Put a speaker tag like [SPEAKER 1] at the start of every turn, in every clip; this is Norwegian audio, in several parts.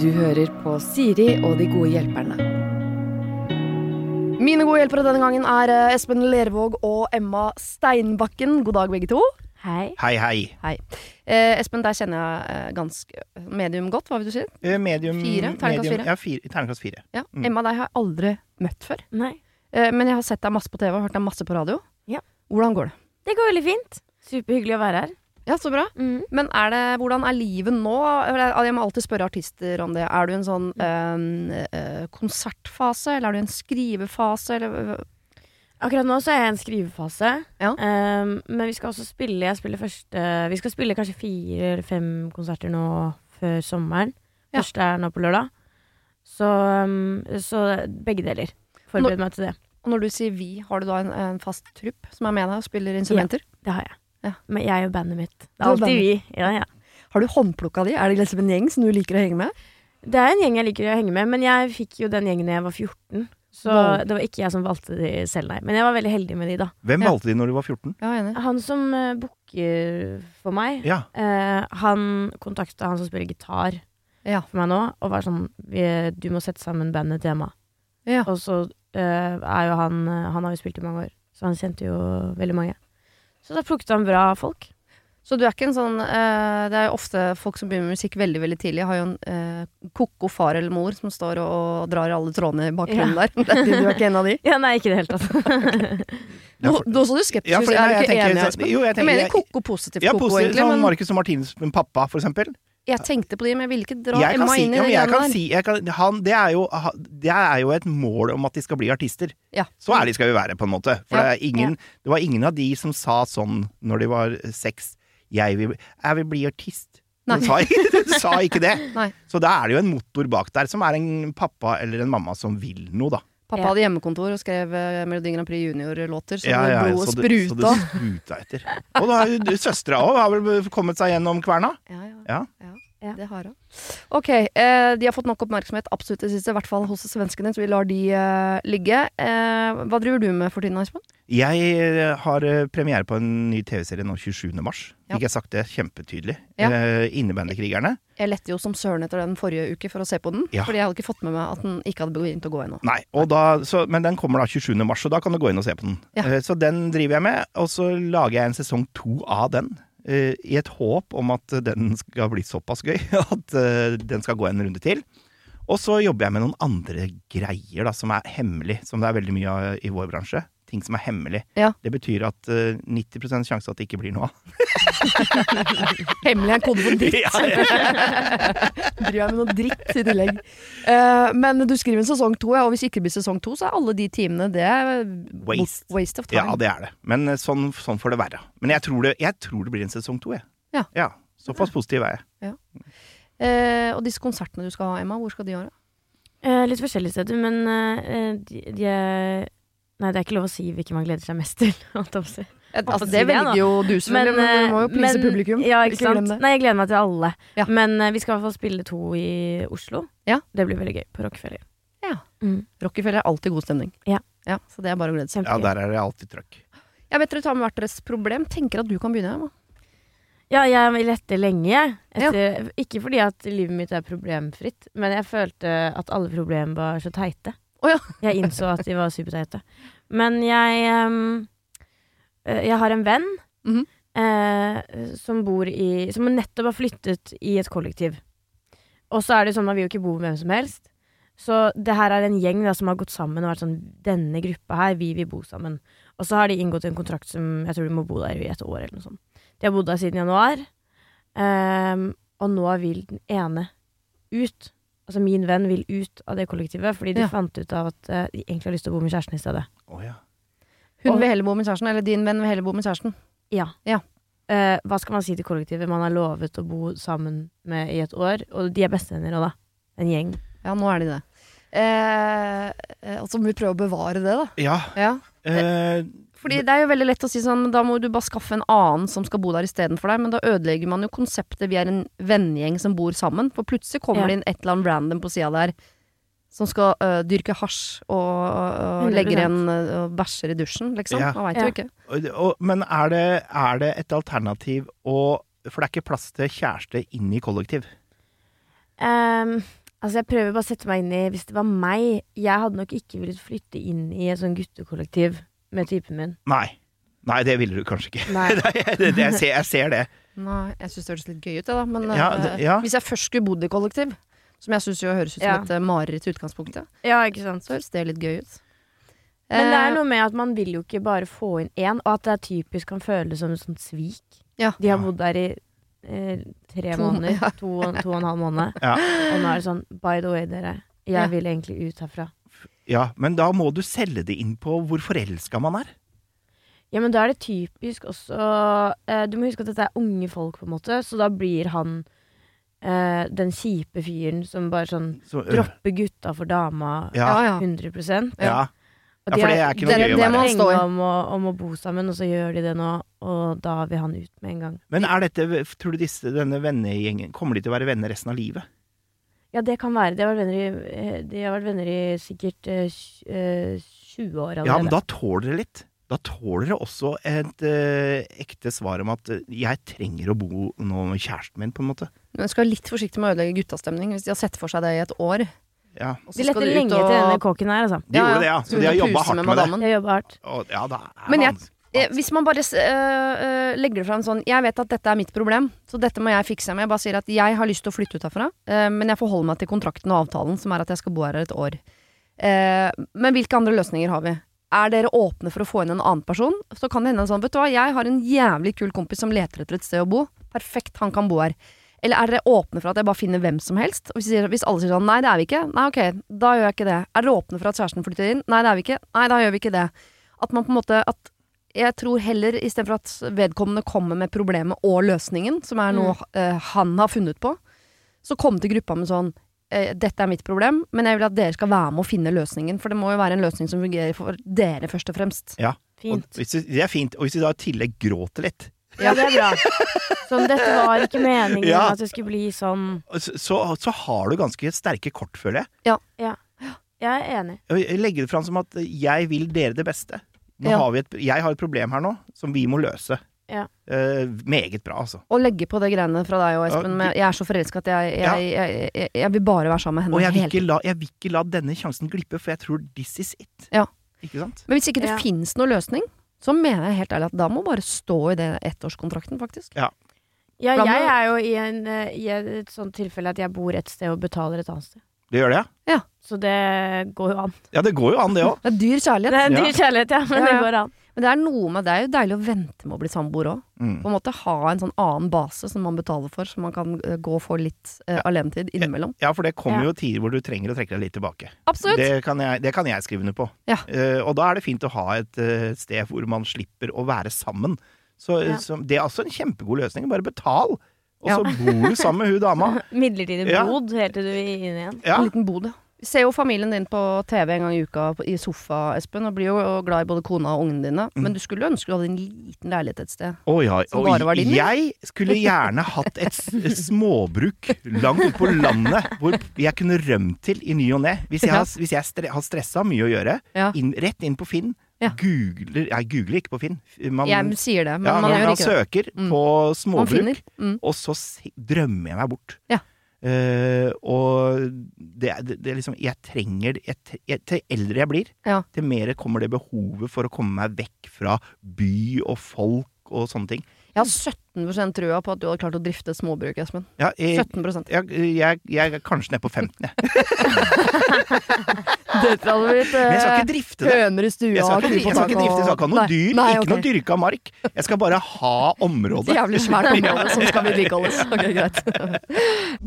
[SPEAKER 1] Du hører på Siri og de gode hjelperne. Mine gode hjelpere denne gangen er eh, Espen Lervåg og Emma Steinbakken. God dag, begge to.
[SPEAKER 2] Hei.
[SPEAKER 3] Hei, hei.
[SPEAKER 1] Hei. Eh, Espen, der kjenner jeg eh, ganske medium godt. Hva vil du si?
[SPEAKER 3] Eh, Medium
[SPEAKER 1] Fire? Terningkast
[SPEAKER 3] medium,
[SPEAKER 1] fire?
[SPEAKER 3] Ja, fire, terningkast fire.
[SPEAKER 1] Ja.
[SPEAKER 3] Mm.
[SPEAKER 1] Emma, deg har jeg aldri møtt før.
[SPEAKER 2] Nei.
[SPEAKER 1] Eh, men jeg har sett deg masse på TV og hørt deg masse på radio.
[SPEAKER 2] Ja.
[SPEAKER 1] Hvordan går det?
[SPEAKER 2] Det går veldig fint. Superhyggelig å være her.
[SPEAKER 1] Ja, så bra. Men er det, hvordan er livet nå? Eller, eh, Jeg må alltid spørre artister om det. Er du i en sånn eh, eh, konsertfase, eller er du i en skrivefase, eller eh,
[SPEAKER 2] Akkurat nå så er jeg i en skrivefase.
[SPEAKER 1] Ja.
[SPEAKER 2] Um, men vi skal også spille Jeg spiller første Vi skal spille kanskje fire eller fem konserter nå før sommeren.
[SPEAKER 1] Ja.
[SPEAKER 2] Første er nå på lørdag. Så, um, så begge deler. Forbered meg til det.
[SPEAKER 1] Og når du sier vi, har du da en, en fast trupp som er med deg og spiller instrumenter?
[SPEAKER 2] Det har jeg.
[SPEAKER 1] Ja.
[SPEAKER 2] Men jeg og bandet mitt. Det
[SPEAKER 1] Du
[SPEAKER 2] er
[SPEAKER 1] og
[SPEAKER 2] alltid vi. Ja, ja.
[SPEAKER 1] Har du håndplukka de? Er det liksom en gjeng som du liker å henge med?
[SPEAKER 2] Det er en gjeng jeg liker å henge med, men jeg fikk jo den gjengen da jeg var 14. Så
[SPEAKER 1] Wow.
[SPEAKER 2] det var ikke jeg som valgte de selv, nei. Men jeg var veldig heldig med de, da.
[SPEAKER 3] Hvem
[SPEAKER 1] Ja.
[SPEAKER 3] valgte de når du var 14?
[SPEAKER 1] Ja, enig.
[SPEAKER 2] Han som uh, booker for meg,
[SPEAKER 3] Ja.
[SPEAKER 2] Eh, han kontakta han som spiller gitar
[SPEAKER 1] Ja.
[SPEAKER 2] for meg nå, og var sånn vi, 'Du må sette sammen bandet til Emma'.
[SPEAKER 1] Ja.
[SPEAKER 2] Og så eh, er jo han eh, Han har jo spilt i mange år, så han kjente jo veldig mange. Så da plukket han bra folk.
[SPEAKER 1] Så du er ikke en sånn eh, Det er jo ofte folk som begynner med musikk veldig veldig tidlig. Jeg har jo en eh, ko-ko far eller mor som står og, og drar i alle trådene i bakgrunnen der. du er ikke en av de?
[SPEAKER 2] Ja, nei, ikke i det hele tatt.
[SPEAKER 3] Ja, for-
[SPEAKER 1] Nå så du skeptisk
[SPEAKER 3] Ja, for-
[SPEAKER 1] ut.
[SPEAKER 3] nei,
[SPEAKER 1] Er du
[SPEAKER 3] jeg
[SPEAKER 1] ikke
[SPEAKER 3] tenker
[SPEAKER 1] enig,
[SPEAKER 3] sånn-
[SPEAKER 1] Espen?
[SPEAKER 3] jo, jeg
[SPEAKER 1] jeg mener
[SPEAKER 3] tenker-
[SPEAKER 1] ko-ko positivt
[SPEAKER 3] Ja,
[SPEAKER 1] ko-ko,
[SPEAKER 3] positivt,
[SPEAKER 1] egentlig.
[SPEAKER 3] sånn
[SPEAKER 1] Men
[SPEAKER 3] Marcus og Martinus men pappa, for eksempel.
[SPEAKER 1] jeg tenkte på de, men jeg ville ikke dra
[SPEAKER 3] Jeg kan
[SPEAKER 1] Emma
[SPEAKER 3] si,
[SPEAKER 1] inn i
[SPEAKER 3] ja, men
[SPEAKER 1] det
[SPEAKER 3] jeg kan
[SPEAKER 1] der.
[SPEAKER 3] si jeg kan, han, det, er jo, ha- det er jo et mål om at de skal bli artister.
[SPEAKER 1] Ja.
[SPEAKER 3] Så ærlig skal vi være, på en måte. For
[SPEAKER 1] Ja.
[SPEAKER 3] det, er ingen, det var ingen av de som sa sånn når de var seks jeg vil, 'Jeg vil bli artist'.
[SPEAKER 1] Nei.
[SPEAKER 3] De sa, de sa ikke det.
[SPEAKER 1] Nei.
[SPEAKER 3] Så da er det jo en motor bak der, som er en pappa eller en mamma som vil noe, da.
[SPEAKER 1] Pappa
[SPEAKER 2] Ja.
[SPEAKER 1] hadde hjemmekontor og skrev eh, Melodi Grand Prix Junior-låter, så
[SPEAKER 3] Ja, ja, ja,
[SPEAKER 1] blodet
[SPEAKER 3] så det- Så
[SPEAKER 1] spruta.
[SPEAKER 3] det spruta etter. Og da har jo du- søstera òg har vel kommet seg gjennom kverna?
[SPEAKER 1] Ja, ja.
[SPEAKER 3] Ja.
[SPEAKER 1] ja.
[SPEAKER 2] Ja.
[SPEAKER 1] Det har hun. Ok, eh, de har fått nok oppmerksomhet absolutt det siste, i hvert fall hos svenskene, så vi lar de eh, ligge. Eh, hva driver du med for tiden, Espen?
[SPEAKER 3] Jeg har eh, premiere på en ny TV-serie nå 27. mars.
[SPEAKER 1] Ja.
[SPEAKER 3] Fikk jeg sagt det kjempetydelig?
[SPEAKER 1] Ja.
[SPEAKER 3] Eh, Innebandykrigerne?
[SPEAKER 1] Jeg lette jo som søren etter den forrige uke for å se på den,
[SPEAKER 3] Ja.
[SPEAKER 1] fordi jeg hadde ikke fått med meg at den ikke hadde begynt å gå ennå.
[SPEAKER 3] Nei. Og da, så, men den kommer da 27. mars, og da kan du gå inn og se på den.
[SPEAKER 1] Ja.
[SPEAKER 3] Eh, Så den driver jeg med, og så lager jeg en sesong to av den. eh, I et håp om at eh, den skal bli såpass gøy at eh, den skal gå en runde til. Og så jobber jeg med noen andre greier da, som er hemmelig, som det er veldig mye av eh, i vår bransje. Ting som er hemmelig.
[SPEAKER 1] Ja.
[SPEAKER 3] Det betyr at eh, 90 sjanse at det ikke blir noe av.
[SPEAKER 1] Hemmelig er en kode for dritt. Driver jeg med noe dritt i tillegg. Eh, men du skriver en sesong to, ja, og hvis ikke det blir sesong to, så er alle de timene det er
[SPEAKER 3] Waste.
[SPEAKER 1] waste of time.
[SPEAKER 3] Ja, det er det. Men eh, sånn, sånn får det være. Men jeg tror det, jeg tror det blir en sesong to, jeg.
[SPEAKER 1] Ja.
[SPEAKER 3] Såpass positiv er jeg.
[SPEAKER 1] Eh, og disse konsertene du skal ha, Emma, hvor skal de være?
[SPEAKER 2] Eh, litt forskjellige steder, men eh, de, de er Nei, det er ikke lov å si hvilken man gleder seg mest til. holdt jeg på å si.
[SPEAKER 1] Altså,
[SPEAKER 2] si
[SPEAKER 1] det
[SPEAKER 2] det, da.
[SPEAKER 1] velger jo du, selvfølgelig, men,
[SPEAKER 2] eh,
[SPEAKER 1] du må jo please
[SPEAKER 2] men-
[SPEAKER 1] publikum.
[SPEAKER 2] Ja, ikke,
[SPEAKER 1] glem
[SPEAKER 2] sant?
[SPEAKER 1] det.
[SPEAKER 2] Nei, jeg gleder meg til alle.
[SPEAKER 1] Ja.
[SPEAKER 2] Men eh, vi skal i hvert fall spille to i Oslo.
[SPEAKER 1] Ja.
[SPEAKER 2] Det blir veldig gøy på Rockefeller.
[SPEAKER 1] Ja.
[SPEAKER 2] Mm.
[SPEAKER 1] Rockefeller er alltid god stemning.
[SPEAKER 2] Ja.
[SPEAKER 1] Så det er bare å glede seg.
[SPEAKER 3] Ja,
[SPEAKER 2] Kjempegøy. Ja,
[SPEAKER 3] der er det alltid trøkk.
[SPEAKER 1] Jeg vet dere tar med hvert deres problem. Tenker at du kan begynne. Emma.
[SPEAKER 2] jeg lette lenge. jeg. Etter, Ikke fordi at livet mitt er problemfritt, men jeg følte at alle problem var så teite.
[SPEAKER 1] Å ja.
[SPEAKER 2] jeg innså at de var superteite. Men jeg ehm, eh, Jeg har en venn
[SPEAKER 1] Mhm.
[SPEAKER 2] eh, som bor i Som nettopp har flyttet i et kollektiv. Og så er det jo sånn, man vil jo ikke bo med hvem som helst. Så det her er en gjeng da, som har gått sammen og vært sånn Denne gruppa her, vi vil bo sammen. Og så har de inngått en kontrakt som jeg tror de må bo der i et år eller noe sånt. De har bodd der siden januar. Ehm, og nå vil den ene ut. Altså min venn vil ut av det kollektivet, fordi de
[SPEAKER 1] Ja.
[SPEAKER 2] fant ut av at eh, de egentlig har lyst til å bo med kjæresten i stedet.
[SPEAKER 3] Å ja.
[SPEAKER 1] Hun
[SPEAKER 2] Og-
[SPEAKER 1] vil heller bo med kjæresten, eller din venn vil heller bo med kjæresten.
[SPEAKER 2] Ja.
[SPEAKER 1] Ja.
[SPEAKER 2] Eh, hva skal man si til kollektivet man har lovet å bo sammen med i et år? Og de er bestevenner òg, da. En gjeng.
[SPEAKER 1] Ja, nå er de det. Eh, eh, og så må vi prøve å bevare det, da.
[SPEAKER 3] Ja.
[SPEAKER 1] Ja.
[SPEAKER 3] eh,
[SPEAKER 1] Fordi det er jo veldig lett å si sånn, da må du bare skaffe en annen som skal bo der istedenfor deg, men da ødelegger man jo konseptet vi er en vennegjeng som bor sammen, for plutselig kommer
[SPEAKER 2] Ja.
[SPEAKER 1] det inn et eller annet random på sida der som skal øh, dyrke hasj og, og, og
[SPEAKER 2] 100%.
[SPEAKER 1] legger igjen øh, og bæsjer i dusjen, liksom.
[SPEAKER 3] Ja.
[SPEAKER 1] Man veit
[SPEAKER 2] Ja.
[SPEAKER 1] jo ikke.
[SPEAKER 3] Og, og, men er det, er det et alternativ å For det er ikke plass til kjæreste inn i kollektiv.
[SPEAKER 2] Ehm, altså jeg prøver bare å sette meg inn i Hvis det var meg Jeg hadde nok ikke villet flytte inn i et sånn guttekollektiv med typen min.
[SPEAKER 3] Nei. Nei, det ville du kanskje ikke.
[SPEAKER 2] Nei.
[SPEAKER 3] Nei, det, det, jeg, ser, jeg ser det.
[SPEAKER 1] Nei, jeg syns det høres litt gøy ut, jeg da. Men
[SPEAKER 3] Ja,
[SPEAKER 1] eh,
[SPEAKER 3] det- ja.
[SPEAKER 1] hvis jeg først skulle bodd i kollektiv, som jeg syns jo høres ut som
[SPEAKER 2] Ja.
[SPEAKER 1] et eh, mareritt i utgangspunktet,
[SPEAKER 2] Ja, ikke sant
[SPEAKER 1] så høres det litt gøy ut.
[SPEAKER 2] Men det
[SPEAKER 1] Eh,
[SPEAKER 2] er noe med at man vil jo ikke bare få inn én, og at det er typisk kan føles som et sånt svik.
[SPEAKER 1] Ja.
[SPEAKER 2] De har bodd der i eh, tre
[SPEAKER 1] To-
[SPEAKER 2] måneder.
[SPEAKER 1] ja.
[SPEAKER 2] To, to og en halv måned.
[SPEAKER 3] Ja.
[SPEAKER 2] Og nå er det sånn By the way, dere. Jeg
[SPEAKER 1] Ja.
[SPEAKER 2] vil egentlig ut herfra.
[SPEAKER 3] Ja, men da må du selge det inn på hvor forelska man er.
[SPEAKER 2] Ja, men da er det typisk også eh, Du må huske at dette er unge folk, på en måte, så da blir han eh, den kjipe fyren som bare sånn
[SPEAKER 3] Så, øh,
[SPEAKER 2] dropper gutta for dama
[SPEAKER 3] Ja,
[SPEAKER 1] ja, ja.
[SPEAKER 2] 100 Og
[SPEAKER 3] ja. ja, for det er ikke noe
[SPEAKER 1] dere-
[SPEAKER 3] gøy å
[SPEAKER 1] det
[SPEAKER 3] være.
[SPEAKER 1] må han stå i.
[SPEAKER 2] om å, om å bo sammen, og så gjør de det nå, og da vil han ut med en gang.
[SPEAKER 3] Men er dette, tror du disse, denne vennegjengen Kommer de til å være venner resten av livet?
[SPEAKER 2] Ja, det kan være. De har vært venner i, eh, de har vært venner i sikkert eh, tj- eh, 20 år allerede.
[SPEAKER 3] Ja, men da tåler dere litt. Da tåler dere også et eh, ekte svar om at eh, 'jeg trenger å bo nå med kjæresten min', på en måte.
[SPEAKER 1] Men jeg skal være litt forsiktig med å ødelegge guttastemning hvis de har sett for seg det i et år.
[SPEAKER 3] Ja,
[SPEAKER 1] og så skal
[SPEAKER 2] de
[SPEAKER 1] du
[SPEAKER 2] leter
[SPEAKER 1] ut
[SPEAKER 2] lenge
[SPEAKER 1] og-
[SPEAKER 2] etter denne kåken her, altså.
[SPEAKER 3] De gjorde det, ja. Så de har
[SPEAKER 1] Ut og
[SPEAKER 3] jobba
[SPEAKER 1] puse
[SPEAKER 3] hardt med det.
[SPEAKER 1] madammen.
[SPEAKER 2] Jeg jobber hardt.
[SPEAKER 3] Og, ja, da er
[SPEAKER 1] Men jeg-
[SPEAKER 3] man-
[SPEAKER 1] Eh, Hvis man bare eh, eh, legger det fram sånn Jeg vet at dette er mitt problem, så dette må jeg fikse med. Jeg bare sier at jeg har lyst til å flytte ut herfra, eh, men jeg forholder meg til kontrakten og avtalen, som er at jeg skal bo her et år. Eh, men hvilke andre løsninger har vi? Er dere åpne for å få inn en annen person? Så kan det hende en sånn, vet du hva, jeg har en jævlig kul kompis som leter etter et sted å bo. Perfekt, han kan bo her. Eller er dere åpne for at jeg bare finner hvem som helst? Og hvis, de sier- hvis alle sier sånn, nei det er vi ikke, nei ok, da gjør jeg ikke det. Er dere åpne for at kjæresten flytter inn? Nei det er vi ikke, nei da gjør vi ikke det. At man på en måte, at jeg tror heller, istedenfor at vedkommende kommer med problemet og løsningen, som er noe
[SPEAKER 3] Mm.
[SPEAKER 1] eh, han har funnet på, så kom til gruppa med sånn eh, Dette er mitt problem, men jeg vil at dere skal være med å finne løsningen. For det må jo være en løsning som fungerer for dere, først og fremst.
[SPEAKER 3] og
[SPEAKER 2] Fint.
[SPEAKER 3] hvis de, det er fint. Og hvis de da i tillegg gråter litt,
[SPEAKER 2] Ja, det er bra. Sånn, dette var ikke meningen
[SPEAKER 3] Ja.
[SPEAKER 2] at det skulle bli sånn.
[SPEAKER 3] så, så, så har du ganske sterke kort, føler jeg.
[SPEAKER 2] Jeg er enig.
[SPEAKER 3] Jeg legger det fram som at 'jeg vil dere det beste'. Nå
[SPEAKER 1] Ja.
[SPEAKER 3] har vi et, jeg har et problem her nå som vi må løse.
[SPEAKER 2] Ja.
[SPEAKER 3] Eh, meget bra, altså.
[SPEAKER 1] Og legge på det greiene fra deg og Espen
[SPEAKER 3] Ja,
[SPEAKER 1] med 'jeg er så forelska at jeg, jeg, jeg, jeg, jeg vil bare være sammen med henne'.
[SPEAKER 3] Og jeg vil,
[SPEAKER 1] hele
[SPEAKER 3] ikke la, jeg vil ikke la denne sjansen glippe, for jeg tror this is it.
[SPEAKER 1] Ja.
[SPEAKER 3] Ikke sant?
[SPEAKER 1] Men hvis ikke det
[SPEAKER 2] Ja.
[SPEAKER 1] finnes noen løsning, så mener jeg helt ærlig at da må bare stå i det ettårskontrakten, faktisk.
[SPEAKER 2] Ja,
[SPEAKER 1] Hvordan
[SPEAKER 2] jeg
[SPEAKER 1] med-
[SPEAKER 2] er jo i, en, eh, i et sånt tilfelle at jeg bor et sted og betaler et annet sted.
[SPEAKER 3] Det gjør det, ja?
[SPEAKER 2] Så det går jo an.
[SPEAKER 3] Ja, det går jo an, det òg.
[SPEAKER 1] Det er dyr
[SPEAKER 2] Det
[SPEAKER 1] kjærlighet.
[SPEAKER 2] er en
[SPEAKER 3] Ja.
[SPEAKER 2] dyr kjærlighet, ja, men
[SPEAKER 1] Ja,
[SPEAKER 2] det
[SPEAKER 1] ja.
[SPEAKER 2] går an.
[SPEAKER 1] Men det er noe med det er jo deilig å vente med å bli samboer òg.
[SPEAKER 3] Mm.
[SPEAKER 1] på en måte ha en sånn annen base som man betaler for, så man kan eh, gå og få litt eh, alenetid innimellom.
[SPEAKER 3] Ja, for det kommer
[SPEAKER 2] Ja.
[SPEAKER 3] jo tider hvor du trenger å trekke deg litt tilbake.
[SPEAKER 1] Absolutt!
[SPEAKER 3] Det kan jeg, det kan jeg skrive under på.
[SPEAKER 1] Ja.
[SPEAKER 3] Eh, og da er det fint å ha et eh, sted hvor man slipper å være sammen. Så, eh,
[SPEAKER 2] Ja.
[SPEAKER 3] så det er også en kjempegod løsning. Bare betal, og
[SPEAKER 1] Ja.
[SPEAKER 3] så bor du sammen med hun dama.
[SPEAKER 2] Midlertidig
[SPEAKER 3] Ja.
[SPEAKER 2] bod helt til du vil inn igjen.
[SPEAKER 3] Ja.
[SPEAKER 1] En liten bod. Vi ser jo familien din på TV en gang i uka på- i sofa, Espen, og blir jo glad i både kona og ungene dine.
[SPEAKER 3] Mm.
[SPEAKER 1] Men du skulle ønske du hadde en liten leilighet et sted.
[SPEAKER 3] Å ja,
[SPEAKER 1] Som
[SPEAKER 3] og
[SPEAKER 1] bare var din, ja.
[SPEAKER 3] jeg skulle gjerne hatt et s- et småbruk langt ute på landet hvor jeg kunne rømt til i ny og ne. Hvis jeg, har- hvis jeg stre, har stressa mye å gjøre,
[SPEAKER 1] Ja.
[SPEAKER 3] inn, rett inn på Finn.
[SPEAKER 1] Ja.
[SPEAKER 3] Googler Jeg googler ikke på Finn. Man,
[SPEAKER 1] Jeg sier det, men
[SPEAKER 3] ja,
[SPEAKER 1] man
[SPEAKER 3] man,
[SPEAKER 1] gjør ikke det.
[SPEAKER 3] søker
[SPEAKER 1] Mm.
[SPEAKER 3] på
[SPEAKER 1] Man
[SPEAKER 3] småbruk,
[SPEAKER 1] finner. Mm.
[SPEAKER 3] og så se- drømmer jeg meg bort.
[SPEAKER 1] Ja.
[SPEAKER 3] Eh, og det, er- det, det er liksom Jeg trenger jeg, tre- jeg, Til eldre jeg blir,
[SPEAKER 1] Ja.
[SPEAKER 3] til mer kommer det behovet for å komme meg vekk fra by og folk og sånne ting.
[SPEAKER 1] Jeg har 17 trua på at du hadde klart å drifte et småbruk, Espen.
[SPEAKER 3] Ja, jeg,
[SPEAKER 1] 17 Det
[SPEAKER 3] jeg, jeg, jeg er kanskje nede på 15,
[SPEAKER 1] Eh,
[SPEAKER 3] jeg.
[SPEAKER 1] hadde blitt
[SPEAKER 3] Men jeg skal
[SPEAKER 1] eh,
[SPEAKER 3] ikke drifte det.
[SPEAKER 1] høner i stua
[SPEAKER 3] Jeg skal ikke, jeg skal ikke drifte, jeg skal ikke ha noe
[SPEAKER 1] Nei.
[SPEAKER 3] dyr,
[SPEAKER 1] Nei,
[SPEAKER 3] ikke
[SPEAKER 1] ok.
[SPEAKER 3] noe dyrka mark. Jeg skal bare ha området.
[SPEAKER 1] Jævlig svært område som skal vedlikeholdes. Ok, greit.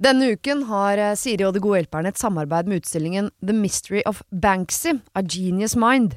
[SPEAKER 1] Denne uken har eh, Siri og De gode hjelperne et samarbeid med utstillingen The Mystery of Banksy, A Genius Mind.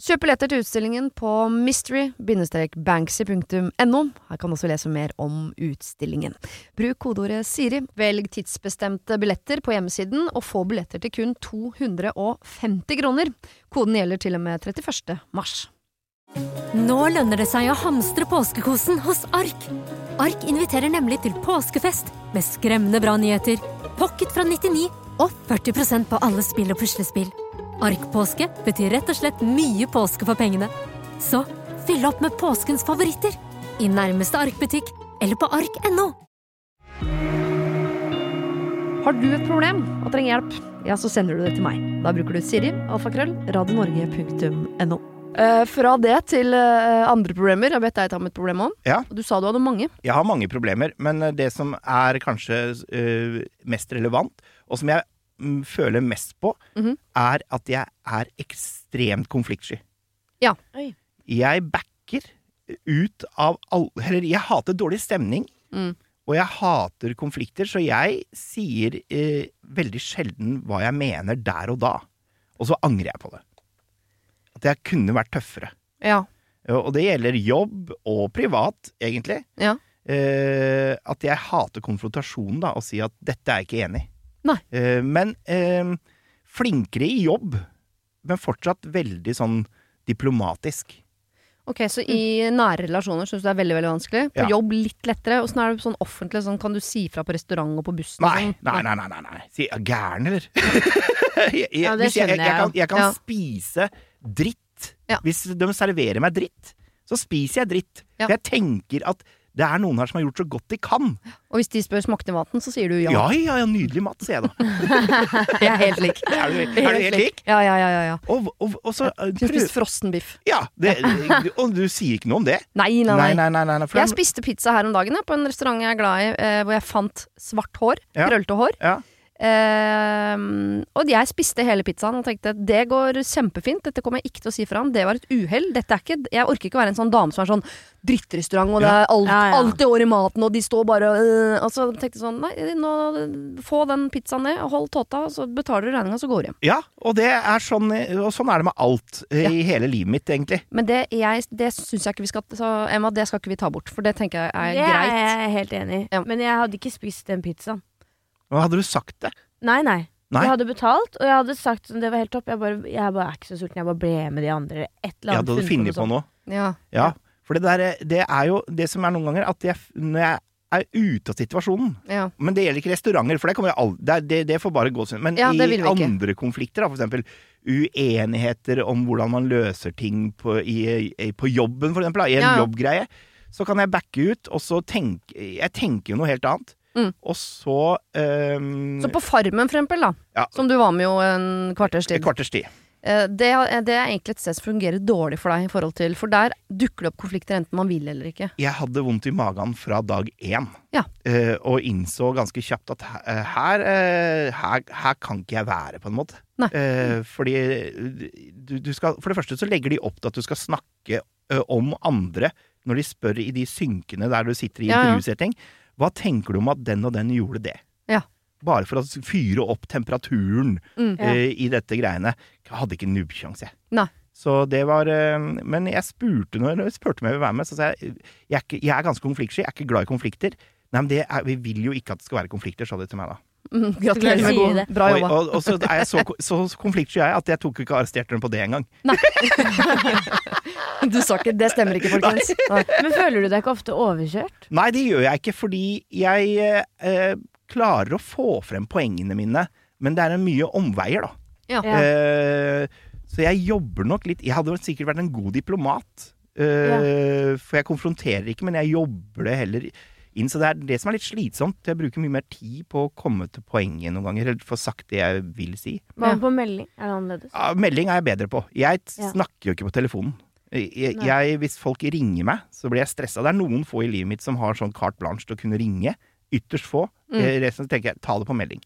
[SPEAKER 1] Kjøp billetter til utstillingen på mystery-banksy.no. Her kan du også lese mer om utstillingen. Bruk kodeordet Siri, velg tidsbestemte billetter på hjemmesiden, og få billetter til kun 250 kroner. Koden gjelder til og med 31. mars.
[SPEAKER 4] Nå lønner det seg å hamstre påskekosen hos Ark. Ark inviterer nemlig til påskefest med skremmende bra nyheter, pocket fra 99 og 40 på alle spill og puslespill. Ark-påske betyr rett og slett mye påske for pengene. Så fyll opp med påskens favoritter i nærmeste Ark-butikk eller på ark.no.
[SPEAKER 1] Har du et problem og trenger hjelp, ja, så sender du det til meg. Da bruker du Siri, alfakrøll, radionorge.no. Eh, fra det til eh, andre problemer. Jeg vet deg ta med et problem òg.
[SPEAKER 3] Ja.
[SPEAKER 1] Du sa du hadde mange.
[SPEAKER 3] Jeg har mange problemer, men eh, det som er kanskje øh, mest relevant, og som jeg mm, føler mest på,
[SPEAKER 1] Mhm.
[SPEAKER 3] er at jeg er ekstremt konfliktsky.
[SPEAKER 1] Ja.
[SPEAKER 2] Oi.
[SPEAKER 3] Jeg backer ut av alle Eller jeg hater dårlig stemning,
[SPEAKER 1] Mm.
[SPEAKER 3] og jeg hater konflikter, så jeg sier eh, veldig sjelden hva jeg mener der og da. Og så angrer jeg på det. At jeg kunne vært tøffere.
[SPEAKER 1] Ja.
[SPEAKER 3] Og det gjelder jobb og privat, egentlig.
[SPEAKER 1] Ja.
[SPEAKER 3] Eh, at jeg hater konfrontasjonen, da, og si at dette er jeg ikke enig i.
[SPEAKER 1] Nei.
[SPEAKER 3] Eh, men eh, flinkere i jobb, men fortsatt veldig sånn diplomatisk.
[SPEAKER 1] Ok, Så i nære relasjoner syns du det er veldig veldig vanskelig? På
[SPEAKER 3] Ja.
[SPEAKER 1] jobb litt lettere? Åssen er det sånn offentlig? Sånn, kan du si fra på restaurant og på bussen? og
[SPEAKER 3] Nei,
[SPEAKER 1] sånn?
[SPEAKER 3] nei, nei, nei, nei, nei. Si, er gæren, eller? jeg, jeg,
[SPEAKER 2] Ja, det
[SPEAKER 3] hvis jeg, jeg,
[SPEAKER 2] skjønner jeg
[SPEAKER 3] jeg kan,
[SPEAKER 2] jo.
[SPEAKER 3] jeg kan
[SPEAKER 1] Ja.
[SPEAKER 3] spise dritt.
[SPEAKER 1] Ja.
[SPEAKER 3] Hvis de serverer meg dritt, så spiser jeg dritt.
[SPEAKER 1] Ja.
[SPEAKER 3] For jeg tenker at det er noen her som har gjort så godt de kan.
[SPEAKER 1] Og hvis de spør smakte maten, så sier du ja.
[SPEAKER 3] Ja, ja, ja, nydelig mat, sier jeg da.
[SPEAKER 1] Jeg er helt lik.
[SPEAKER 3] Er du, er du helt lik?
[SPEAKER 1] Ja, ja, ja. ja, ja.
[SPEAKER 3] Og, og, og så eh,
[SPEAKER 1] Jeg
[SPEAKER 3] prøv-
[SPEAKER 1] spiste frossenbiff.
[SPEAKER 3] Ja, det, og du sier ikke noe om det?
[SPEAKER 1] Nei, nei, nei.
[SPEAKER 3] nei, nei, nei, nei, for
[SPEAKER 1] Jeg
[SPEAKER 3] den-
[SPEAKER 1] spiste pizza her om dagen jeg, på en restaurant jeg er glad i, eh, hvor jeg fant svart hår.
[SPEAKER 3] Ja.
[SPEAKER 1] Krøllete hår.
[SPEAKER 3] ja.
[SPEAKER 1] Eh, og jeg spiste hele pizzaen og tenkte det går kjempefint, dette kommer jeg ikke til å si fra om. Det var et uhell. Dette er ikke Jeg orker ikke å være en sånn dame som er sånn drittrestaurant, og det
[SPEAKER 3] Ja.
[SPEAKER 1] er alt,
[SPEAKER 2] Ja, ja.
[SPEAKER 1] alt i år i maten, og de står bare og øh, Og så tenkte jeg sånn Nei, nå, få den pizzaen ned, og hold tåta, så betaler du regninga, så går du hjem.
[SPEAKER 3] ja, og det er sånn Og sånn er det med alt eh, i hele livet mitt, egentlig.
[SPEAKER 1] Men det, jeg- det syns jeg ikke vi skal så, Emma, det skal ikke vi ta bort, for det tenker jeg er
[SPEAKER 2] det
[SPEAKER 1] greit.
[SPEAKER 2] er jeg helt enig i.
[SPEAKER 1] Ja.
[SPEAKER 2] Men jeg hadde ikke spist den pizzaen.
[SPEAKER 3] Hva hadde du sagt det?
[SPEAKER 2] Nei, nei.
[SPEAKER 3] Nei?
[SPEAKER 2] Jeg hadde betalt, og jeg hadde sagt sånn, det var helt topp. Jeg bare, jeg bare er ikke så sulten. Jeg bare ble med de andre. eller Et eller
[SPEAKER 3] Ja,
[SPEAKER 2] annet.
[SPEAKER 3] du hadde funnet på
[SPEAKER 2] sånn.
[SPEAKER 3] noe.
[SPEAKER 1] Ja.
[SPEAKER 3] Ja, for det der eh, Det er jo det som er noen ganger, at jeg, f- når jeg er ute av situasjonen
[SPEAKER 1] Ja.
[SPEAKER 3] Men det gjelder ikke restauranter, for det, kommer jeg aldri, det, er- det, det får bare gå sin Men
[SPEAKER 1] Ja, det
[SPEAKER 3] i
[SPEAKER 1] vil vi ikke.
[SPEAKER 3] andre konflikter, da, for eksempel uenigheter om hvordan man løser ting på, i, i, på jobben, for eksempel, da, i en
[SPEAKER 1] Ja, ja.
[SPEAKER 3] jobbgreie, så kan jeg backe ut, og så tenke Jeg tenker jo noe helt annet.
[SPEAKER 1] Mm.
[SPEAKER 3] Og så ehm,
[SPEAKER 1] Så på Farmen, for eksempel, da,
[SPEAKER 3] Ja.
[SPEAKER 1] som du var med jo en kvarters
[SPEAKER 3] et
[SPEAKER 1] tid.
[SPEAKER 3] kvarters tid.
[SPEAKER 1] Eh, Det, det er egentlig et sted som fungerer dårlig for deg, i forhold til, for der dukker det opp konflikter enten man vil eller ikke.
[SPEAKER 3] Jeg hadde vondt i magen fra dag én,
[SPEAKER 1] Ja.
[SPEAKER 3] eh, og innså ganske kjapt at he- eh, her, eh, her, her kan ikke jeg være, på en måte.
[SPEAKER 1] Nei.
[SPEAKER 3] Eh, fordi du, du skal For det første så legger de opp til at du skal snakke eh, om andre når de spør i de synkene der du sitter i
[SPEAKER 1] Ja, ja.
[SPEAKER 3] intervjusetting. Hva tenker du om at den og den gjorde det?
[SPEAKER 1] Ja.
[SPEAKER 3] Bare for å fyre opp temperaturen
[SPEAKER 1] Mm.
[SPEAKER 2] Ja.
[SPEAKER 3] eh, i dette greiene. Jeg hadde ikke nubbsjanse, jeg.
[SPEAKER 1] Nei.
[SPEAKER 3] Så det var eh, Men jeg spurte når når jeg spurte om jeg ville være med, så sa jeg jeg er, ikke, jeg er ganske konfliktsky, jeg er ikke glad i konflikter. Nei, men det er, vi vil jo ikke at det skal være konflikter, sa de til meg da.
[SPEAKER 1] Mm, gratulerer med
[SPEAKER 2] Sier
[SPEAKER 1] god.
[SPEAKER 2] det.
[SPEAKER 1] Bra
[SPEAKER 3] Oi,
[SPEAKER 1] jobba.
[SPEAKER 3] og, og så er jeg så, ko- så konfliktsky er jeg at jeg tok jo ikke arrestert henne på det engang.
[SPEAKER 1] Du sa ikke Det stemmer ikke, folkens. Nei.
[SPEAKER 2] Men føler du deg ikke ofte overkjørt?
[SPEAKER 3] Nei, det gjør jeg ikke, fordi jeg eh, eh, klarer å få frem poengene mine, men det er en mye omveier, da.
[SPEAKER 1] Ja.
[SPEAKER 2] Ja.
[SPEAKER 3] Eh, så jeg jobber nok litt Jeg hadde vel sikkert vært en god diplomat, eh, for jeg konfronterer ikke, men jeg jobber det heller inn. Så det er det som er litt slitsomt. Jeg bruker mye mer tid på å komme til poenget noen ganger, eller få sagt det jeg vil si.
[SPEAKER 2] Hva med på melding? Er det annerledes?
[SPEAKER 3] Ja, melding er jeg bedre på. Jeg t-
[SPEAKER 2] Ja.
[SPEAKER 3] snakker jo ikke på telefonen. Jeg,
[SPEAKER 2] Nei.
[SPEAKER 3] jeg, hvis folk ringer meg, så blir jeg stressa. Det er noen få i livet mitt som har sånn carte blanche til å kunne ringe. Ytterst få.
[SPEAKER 1] Mm.
[SPEAKER 3] Eh, Resten tenker jeg ta det på melding.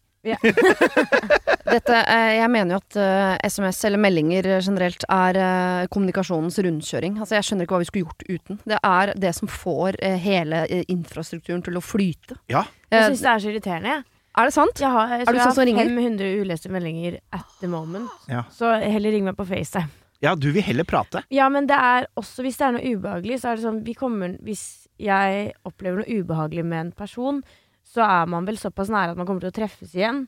[SPEAKER 1] Dette, eh, jeg mener jo at eh, SMS eller meldinger generelt er eh, kommunikasjonens rundkjøring. Altså, jeg skjønner ikke hva vi skulle gjort uten. Det er det som får eh, hele eh, infrastrukturen til å flyte.
[SPEAKER 3] Ja.
[SPEAKER 1] Eh,
[SPEAKER 2] Jeg syns det er så irriterende. jeg.
[SPEAKER 1] er det sant?
[SPEAKER 2] Jeg har,
[SPEAKER 1] Er du
[SPEAKER 2] jeg tror jeg
[SPEAKER 1] sånn som
[SPEAKER 2] har
[SPEAKER 1] ringer?
[SPEAKER 2] 500 uleste meldinger at the moment.
[SPEAKER 3] Ja.
[SPEAKER 2] Så heller ring meg på FaceTime.
[SPEAKER 3] ja, du vil heller prate.
[SPEAKER 2] Ja, men det er også hvis det er noe ubehagelig, så er det sånn vi kommer, Hvis jeg opplever noe ubehagelig med en person, så er man vel såpass nære at man kommer til å treffes igjen.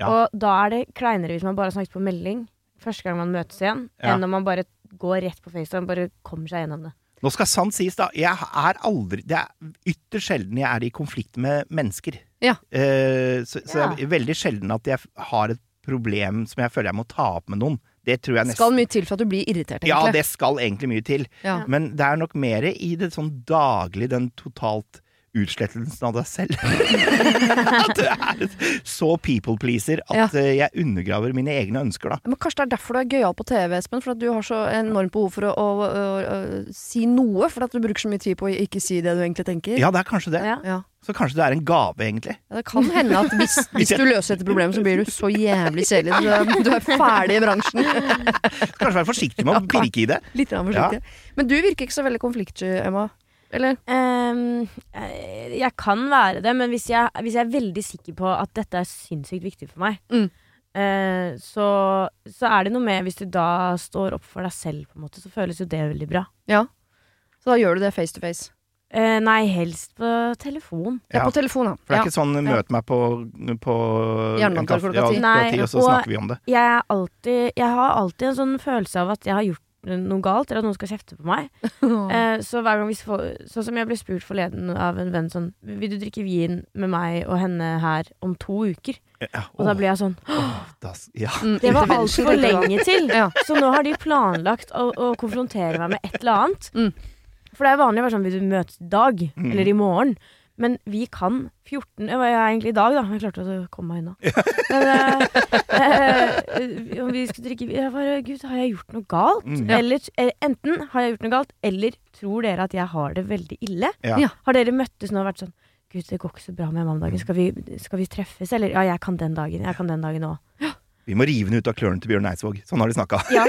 [SPEAKER 3] Ja.
[SPEAKER 2] Og da er det kleinere hvis man bare har snakket på melding første gang man møtes igjen,
[SPEAKER 3] Ja.
[SPEAKER 2] enn om man bare går rett på FaceTime og bare kommer seg gjennom det.
[SPEAKER 3] Nå skal sant sies, da. Jeg er aldri Det er ytterst sjelden jeg er i konflikt med mennesker.
[SPEAKER 1] Ja.
[SPEAKER 3] Eh, så så
[SPEAKER 2] Ja.
[SPEAKER 3] det er veldig sjelden at jeg f- har et problem som jeg føler jeg må ta opp med noen. Det tror jeg nesten
[SPEAKER 1] Skal mye til for at du blir irritert,
[SPEAKER 3] Ja,
[SPEAKER 1] egentlig.
[SPEAKER 3] det skal egentlig mye til.
[SPEAKER 1] Ja.
[SPEAKER 3] Men det er nok mer i det sånn daglig, den totalt utslettelsen av deg selv. at du er et så people pleaser at eh, jeg undergraver mine egne ønsker, da.
[SPEAKER 1] Men Kanskje det er derfor du er gøyal på TV, Espen. For at du har så enormt behov for å, å, å, å si noe. For at du bruker så mye tid på å ikke si det du egentlig tenker.
[SPEAKER 3] Ja, det er kanskje det.
[SPEAKER 2] Ja.
[SPEAKER 1] Ja.
[SPEAKER 3] Så kanskje det er en gave, egentlig.
[SPEAKER 1] Ja, Det kan hende at hvis, hvis du løser dette problemet, så blir du så jævlig kjedelig. Du, er- du er ferdig i bransjen.
[SPEAKER 3] Så Kanskje være forsiktig med å pirke i det.
[SPEAKER 1] Litt grann forsiktig. Men du virker ikke så veldig konfliktsky, Emma. Eller?
[SPEAKER 2] Ehm, eh, jeg kan være det, men hvis jeg, hvis jeg er veldig sikker på at dette er sinnssykt viktig for meg,
[SPEAKER 1] Mm.
[SPEAKER 2] eh, så, så er det noe med Hvis du da står opp for deg selv, på en måte, så føles jo det veldig bra.
[SPEAKER 1] Ja. Så da gjør du det face to face.
[SPEAKER 2] Eh, nei, helst på telefon.
[SPEAKER 1] Ja,
[SPEAKER 3] Ja.
[SPEAKER 1] på telefon,
[SPEAKER 3] For det
[SPEAKER 1] ja.
[SPEAKER 3] er ikke sånn møt meg på, på
[SPEAKER 1] Jernbanetorget
[SPEAKER 3] en kaffe-
[SPEAKER 1] klokka ti.
[SPEAKER 3] ja,
[SPEAKER 2] Nei,
[SPEAKER 3] ti, og så
[SPEAKER 2] og-
[SPEAKER 3] snakker vi om det.
[SPEAKER 2] jeg, er alltid, jeg har alltid en sånn følelse av at jeg har gjort noe galt, eller at noen skal kjefte på meg. Eh, så hver gang hvis folk, Sånn som jeg ble spurt forleden av en venn sånn Vil du drikke vin med meg og henne her om to uker?
[SPEAKER 3] Ja,
[SPEAKER 2] Og da blir jeg sånn
[SPEAKER 3] da, ja.
[SPEAKER 1] Mm,
[SPEAKER 2] Det var
[SPEAKER 1] intervention,
[SPEAKER 2] altfor
[SPEAKER 1] dette da.
[SPEAKER 2] lenge til!
[SPEAKER 1] Ja.
[SPEAKER 2] Så nå har de planlagt å, å konfrontere meg med et eller annet.
[SPEAKER 1] Mm.
[SPEAKER 2] For det er vanlig å være sånn Vil du møtes i dag?
[SPEAKER 3] Mm.
[SPEAKER 2] Eller i morgen? Men vi kan 14 Det var jeg egentlig i dag, da. Jeg klarte å komme meg unna. Men eh, eh, om vi skulle drikke Jeg bare Gud, har jeg gjort noe galt?
[SPEAKER 3] Mm.
[SPEAKER 1] Ja.
[SPEAKER 2] Eller eh, enten har jeg gjort noe galt, eller tror dere at jeg har det veldig ille?
[SPEAKER 3] Ja.
[SPEAKER 1] Ja.
[SPEAKER 2] Har dere møttes nå og vært sånn Gud, det går ikke så bra med mandagen. Skal vi, skal vi treffes? Eller ja, jeg kan den dagen. Jeg kan den dagen òg.
[SPEAKER 3] Vi må rive den ut av klørne til Bjørn Eidsvåg. Sånn har de snakka.
[SPEAKER 2] Ja.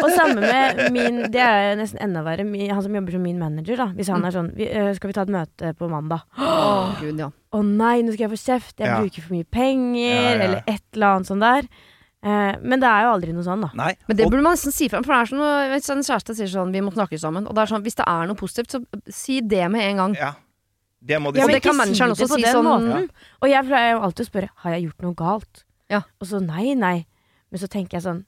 [SPEAKER 2] Og samme med min Det er nesten enda verre. Min, han som jobber som min manager, da. Hvis han
[SPEAKER 1] Mm.
[SPEAKER 2] er sånn vi, øh, Skal vi ta et møte på mandag?
[SPEAKER 1] Å, Gud, ja.
[SPEAKER 2] Å nei, nå skal jeg få kjeft. Jeg
[SPEAKER 3] Ja.
[SPEAKER 2] bruker for mye penger.
[SPEAKER 3] Ja, ja, ja.
[SPEAKER 2] Eller et eller annet sånt der. Eh, men det er jo aldri noe sånn, da.
[SPEAKER 3] Nei.
[SPEAKER 1] Men det
[SPEAKER 3] og,
[SPEAKER 1] burde man nesten si frem. For det er sånn, når- hvis en kjæreste sier sånn 'vi må snakke sammen', og det er sånn, hvis det er noe positivt, så si det med en gang.
[SPEAKER 3] ja. Det må de
[SPEAKER 1] Ja,
[SPEAKER 3] si.
[SPEAKER 1] men det kan manageren også si sånn-
[SPEAKER 2] måten. Og jeg pleier jo alltid å spørre Har jeg gjort noe galt.
[SPEAKER 1] Ja.
[SPEAKER 2] Og så nei, nei. Men så tenker jeg sånn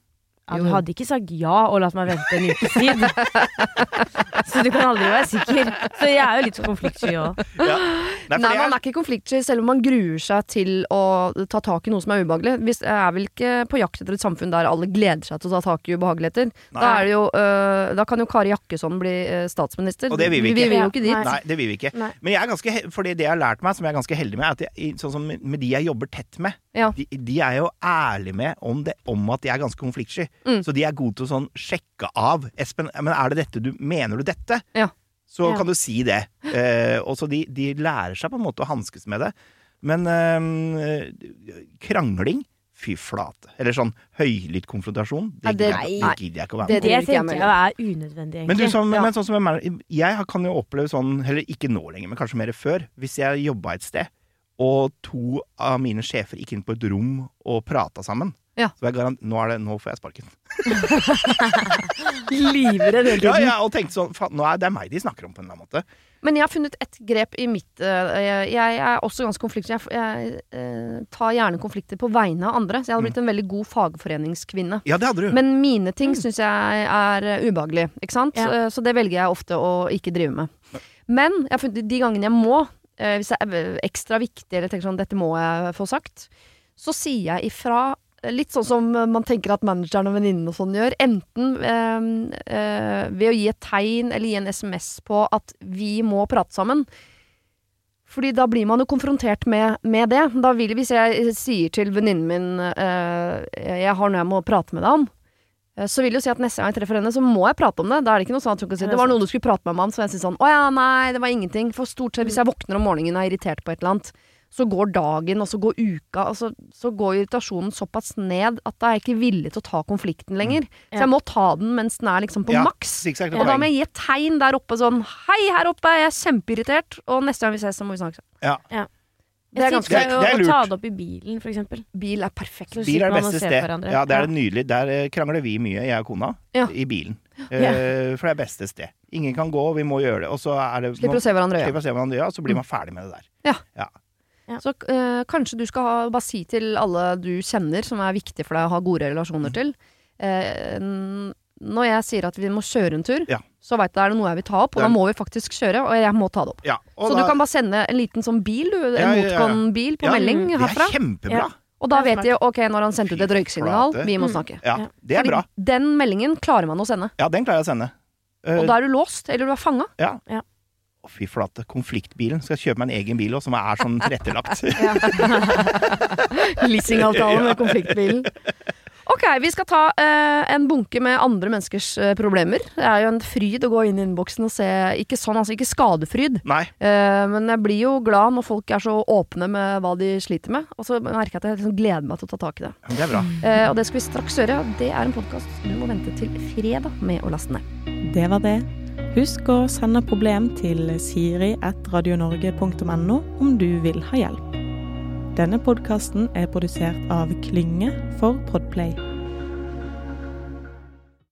[SPEAKER 2] ja,
[SPEAKER 1] Jo,
[SPEAKER 2] Du
[SPEAKER 1] jo.
[SPEAKER 2] hadde ikke sagt ja og latt meg vente en ukes tid. så du kan aldri være sikker. Så jeg er jo litt sånn konfliktsky òg.
[SPEAKER 3] Ja. Nei, for
[SPEAKER 1] Nei,
[SPEAKER 3] det
[SPEAKER 1] Man
[SPEAKER 3] er,
[SPEAKER 1] er ikke konfliktsky selv om man gruer seg til å ta tak i noe som er ubehagelig. Hvis, jeg er vel ikke på jakt etter et samfunn der alle gleder seg til å ta tak i ubehageligheter. Da, er det jo, øh, da kan jo Kari Jakkesson bli øh, statsminister.
[SPEAKER 3] Og det vil vi
[SPEAKER 1] Vi
[SPEAKER 3] ikke.
[SPEAKER 1] vil jo ikke dit.
[SPEAKER 2] Nei.
[SPEAKER 3] nei, det vil vi ikke.
[SPEAKER 2] Nei.
[SPEAKER 3] Men jeg er ganske, he- fordi det jeg har lært meg, som jeg er ganske heldig med, er at jeg, i- sånn som med de jeg jobber tett med,
[SPEAKER 1] Ja.
[SPEAKER 3] de, de er jo ærlige med om, det, om at de er ganske konfliktsky.
[SPEAKER 1] Mm.
[SPEAKER 3] Så de er gode til å sånn sjekke av. Espen, men er det dette du Mener du dette?
[SPEAKER 1] Ja.
[SPEAKER 3] Så
[SPEAKER 2] Ja.
[SPEAKER 3] kan du si det. Eh, og så de, de lærer seg på en måte å hanskes med det. Men eh, krangling Fy flate. Eller sånn høylytt konfrontasjon.
[SPEAKER 1] Ja,
[SPEAKER 3] Det,
[SPEAKER 1] det-
[SPEAKER 3] gidder-
[SPEAKER 1] nei.
[SPEAKER 3] det gidder jeg ikke å være med på.
[SPEAKER 1] Det
[SPEAKER 2] Det,
[SPEAKER 1] driver ikke jeg
[SPEAKER 2] tenker
[SPEAKER 1] med.
[SPEAKER 2] jeg er unødvendig, egentlig.
[SPEAKER 3] Men, du, som,
[SPEAKER 1] Ja.
[SPEAKER 3] men sånn som jeg, mener- jeg har- kan jo oppleve sånn, eller ikke nå lenger, men kanskje mer før, hvis jeg jobba et sted, og to av mine sjefer gikk inn på et rom og prata sammen.
[SPEAKER 1] Ja.
[SPEAKER 3] Så var jeg garant, nå, er det, nå får jeg sparken.
[SPEAKER 2] Livredd hele
[SPEAKER 3] Ja, ja, og tenkte sånn, faen, nå er det meg de snakker om på en eller annen måte.
[SPEAKER 1] Men jeg har funnet et grep i mitt eh, jeg, jeg er også ganske konfliktfri. Jeg, jeg eh, tar gjerne konflikter på vegne av andre, så jeg hadde
[SPEAKER 3] Mm.
[SPEAKER 1] blitt en veldig god fagforeningskvinne.
[SPEAKER 3] Ja, det hadde du.
[SPEAKER 1] Men mine ting syns jeg er eh, ubehagelig, ikke sant?
[SPEAKER 2] Ja.
[SPEAKER 1] Eh, Så det velger jeg ofte å ikke drive med. Men jeg har funnet, de gangene jeg må, eh, hvis det er eh, ekstra viktig eller tenker sånn 'dette må jeg få sagt', så sier jeg ifra. eh, Litt sånn som eh, man tenker at manageren og venninnen og sånn gjør. Enten eh, eh, ved å gi et tegn eller gi en SMS på at vi må prate sammen. Fordi da blir man jo konfrontert med, med det. Da vil Hvis jeg sier til venninnen min eh, 'jeg har noe jeg må prate med deg om', eh, så vil jeg jo si at neste gang jeg treffer henne, så må jeg prate om det. Da er det ikke noe sånn at hun kan si
[SPEAKER 2] Ja, det er
[SPEAKER 1] det var noe du skulle prate med meg om, så jeg sier sånn 'å ja, nei, det var ingenting'. For stort sett hvis jeg våkner om morgenen og er irritert på et eller annet, så går dagen, og så går uka, og så, så går irritasjonen såpass ned at da er jeg ikke villig til å ta konflikten lenger. Så
[SPEAKER 2] Mm. Ja.
[SPEAKER 1] jeg må ta den mens den er liksom på
[SPEAKER 3] Ja,
[SPEAKER 1] maks.
[SPEAKER 3] sikkert
[SPEAKER 1] Og da
[SPEAKER 3] poeng.
[SPEAKER 1] må jeg gi et tegn der oppe sånn Hei, her oppe, jeg er kjempeirritert, og neste gang vi ses, så må vi snakke sammen.
[SPEAKER 3] Ja.
[SPEAKER 1] Det er
[SPEAKER 2] Jeg
[SPEAKER 1] ganske
[SPEAKER 3] Det
[SPEAKER 2] sitter jo
[SPEAKER 3] er- det er
[SPEAKER 2] og ta
[SPEAKER 3] lurt.
[SPEAKER 2] det opp i bilen, for eksempel.
[SPEAKER 1] Bil er perfekt.
[SPEAKER 2] Så
[SPEAKER 3] Bil
[SPEAKER 2] sitter
[SPEAKER 3] er det
[SPEAKER 2] man og
[SPEAKER 3] beste
[SPEAKER 2] ser på
[SPEAKER 3] sted.
[SPEAKER 2] hverandre.
[SPEAKER 3] Ja, det er
[SPEAKER 2] Ja.
[SPEAKER 3] det nydelig. Der eh, krangler vi mye, jeg og kona,
[SPEAKER 1] Ja.
[SPEAKER 3] i bilen. Eh, for det er beste sted. Ingen kan gå, vi må gjøre det. Og så er det
[SPEAKER 1] Slipper å se hverandre i øya.
[SPEAKER 3] slipper å se hverandre i øya, og så blir man ferdig med det der.
[SPEAKER 1] Så eh, kanskje du skal ha, bare si til alle du kjenner som er viktig for deg å ha gode relasjoner til eh, n- Når jeg sier at vi må kjøre en tur,
[SPEAKER 3] Ja.
[SPEAKER 1] så veit du er det noe jeg vil ta opp, og
[SPEAKER 3] Det er-
[SPEAKER 1] da må vi faktisk kjøre, og jeg må ta det opp.
[SPEAKER 3] Ja, og
[SPEAKER 1] Så
[SPEAKER 3] da-
[SPEAKER 1] du kan bare sende en liten sånn bil, du, en
[SPEAKER 3] Ja, ja, ja.
[SPEAKER 1] Notcon-bil på
[SPEAKER 3] Ja,
[SPEAKER 1] melding
[SPEAKER 2] mm,
[SPEAKER 1] herfra.
[SPEAKER 3] Det er kjempebra.
[SPEAKER 2] Ja.
[SPEAKER 1] Og da
[SPEAKER 2] Det er
[SPEAKER 1] vet de ok, når han sendte ut et
[SPEAKER 3] Fy
[SPEAKER 1] røyksignal,
[SPEAKER 3] flate.
[SPEAKER 1] vi må
[SPEAKER 2] Mm.
[SPEAKER 1] snakke.
[SPEAKER 3] Ja, det er
[SPEAKER 1] Fordi
[SPEAKER 3] bra.
[SPEAKER 1] den meldingen klarer man å sende.
[SPEAKER 3] Ja, den klarer jeg å sende. Eh,
[SPEAKER 1] Og da er du låst, eller du er fanga.
[SPEAKER 3] ja.
[SPEAKER 2] Ja.
[SPEAKER 3] Å, Fy flate, konfliktbilen. Skal jeg kjøpe meg en egen bil òg, som er sånn tilrettelagt.
[SPEAKER 1] Leasingavtale med konfliktbilen. Ok, vi skal ta eh, en bunke med andre menneskers eh, problemer. Det er jo en fryd å gå inn i innboksen og se Ikke sånn, altså. Ikke skadefryd.
[SPEAKER 3] Nei.
[SPEAKER 1] Eh, men jeg blir jo glad når folk er så åpne med hva de sliter med. Og så merker jeg at jeg liksom gleder meg til å ta tak i det.
[SPEAKER 3] Det er bra.
[SPEAKER 1] Eh, og det skal vi straks gjøre. og Det er en podkast du må vente til fredag med å laste ned.
[SPEAKER 5] Det var det. Husk å sende problem til siri.radionorge.no om du vil ha hjelp. Denne podkasten er produsert av Klynge for Podplay.